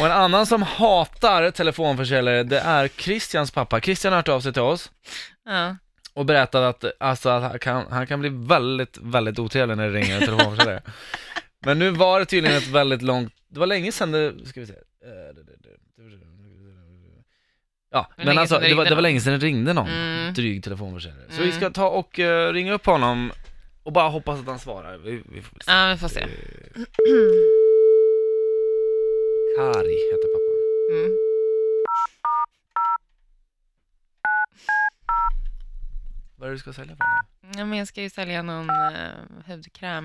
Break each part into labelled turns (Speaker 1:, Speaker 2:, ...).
Speaker 1: Och en annan som hatar telefonförsäljare, det är Christians pappa. Christian har hört av sig till oss
Speaker 2: Ja.
Speaker 1: och berättat att, alltså, att han, kan, han kan bli väldigt, väldigt otrevlig när det ringer en telefonförsäljare. Men nu var det tydligen ett väldigt långt, det var länge sedan det, ska vi se. Ja, men
Speaker 2: Men länge
Speaker 1: alltså
Speaker 2: sedan det
Speaker 1: det var,
Speaker 2: ringde
Speaker 1: det var
Speaker 2: någon.
Speaker 1: länge sedan det ringde någon
Speaker 2: Mm.
Speaker 1: dryg telefonförsäljare. Så vi
Speaker 2: Mm.
Speaker 1: ska ta och eh, ringa upp honom och bara hoppas att han svarar. Vi, vi får väl se.
Speaker 2: ja, vi får se.
Speaker 1: Kari heter pappan.
Speaker 2: Mm.
Speaker 1: Vad är det du ska sälja för honom?
Speaker 2: Ja, men jag ska ju sälja någon eh, hudkräm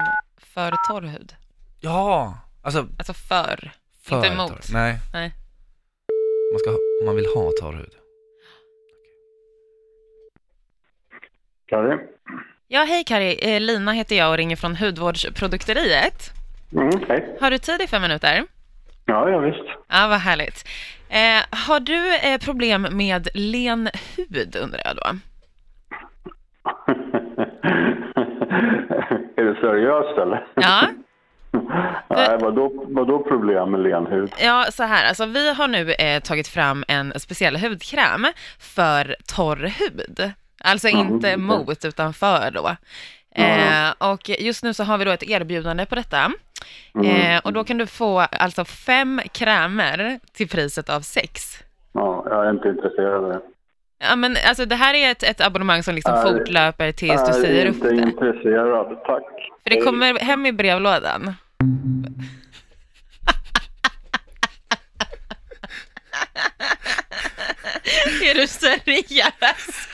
Speaker 2: för torr hud.
Speaker 1: Ja, alltså
Speaker 2: Alltså för.
Speaker 1: för
Speaker 2: Inte emot.
Speaker 1: torr. Nej.
Speaker 2: Nej.
Speaker 1: Man ska, ha- om man vill ha torr hud.
Speaker 3: Karin?
Speaker 2: Ja, hej Kari. Eh, Lina heter jag och ringer från Hudvårdsprodukteriet.
Speaker 3: Mm, hej.
Speaker 2: Har du tid i fem minuter?
Speaker 3: Ja, ja, visst.
Speaker 2: Ja, vad härligt. Eh, har du eh, problem med len hud, undrar jag då?
Speaker 3: är det seriöst eller?
Speaker 2: Ja.
Speaker 3: Nej, vadå, vadå problem med len hud?
Speaker 2: Ja, så här, alltså vi har nu eh, tagit fram en speciell hudkräm för torr hud. Alltså inte
Speaker 3: okej.
Speaker 2: mot, utan för då. Eh, och just nu så har vi då ett erbjudande på detta.
Speaker 3: Mm.
Speaker 2: Eh, och då kan du få alltså fem krämer till priset av sex.
Speaker 3: Ja, jag är inte intresserad av det.
Speaker 2: Ja, men alltså det här är ett, ett abonnemang som liksom
Speaker 3: Nej.
Speaker 2: fortlöper tills du
Speaker 3: jag är
Speaker 2: säger upp
Speaker 3: inte
Speaker 2: det.
Speaker 3: intresserad, tack.
Speaker 2: För det kommer hem i brevlådan. är du seriös?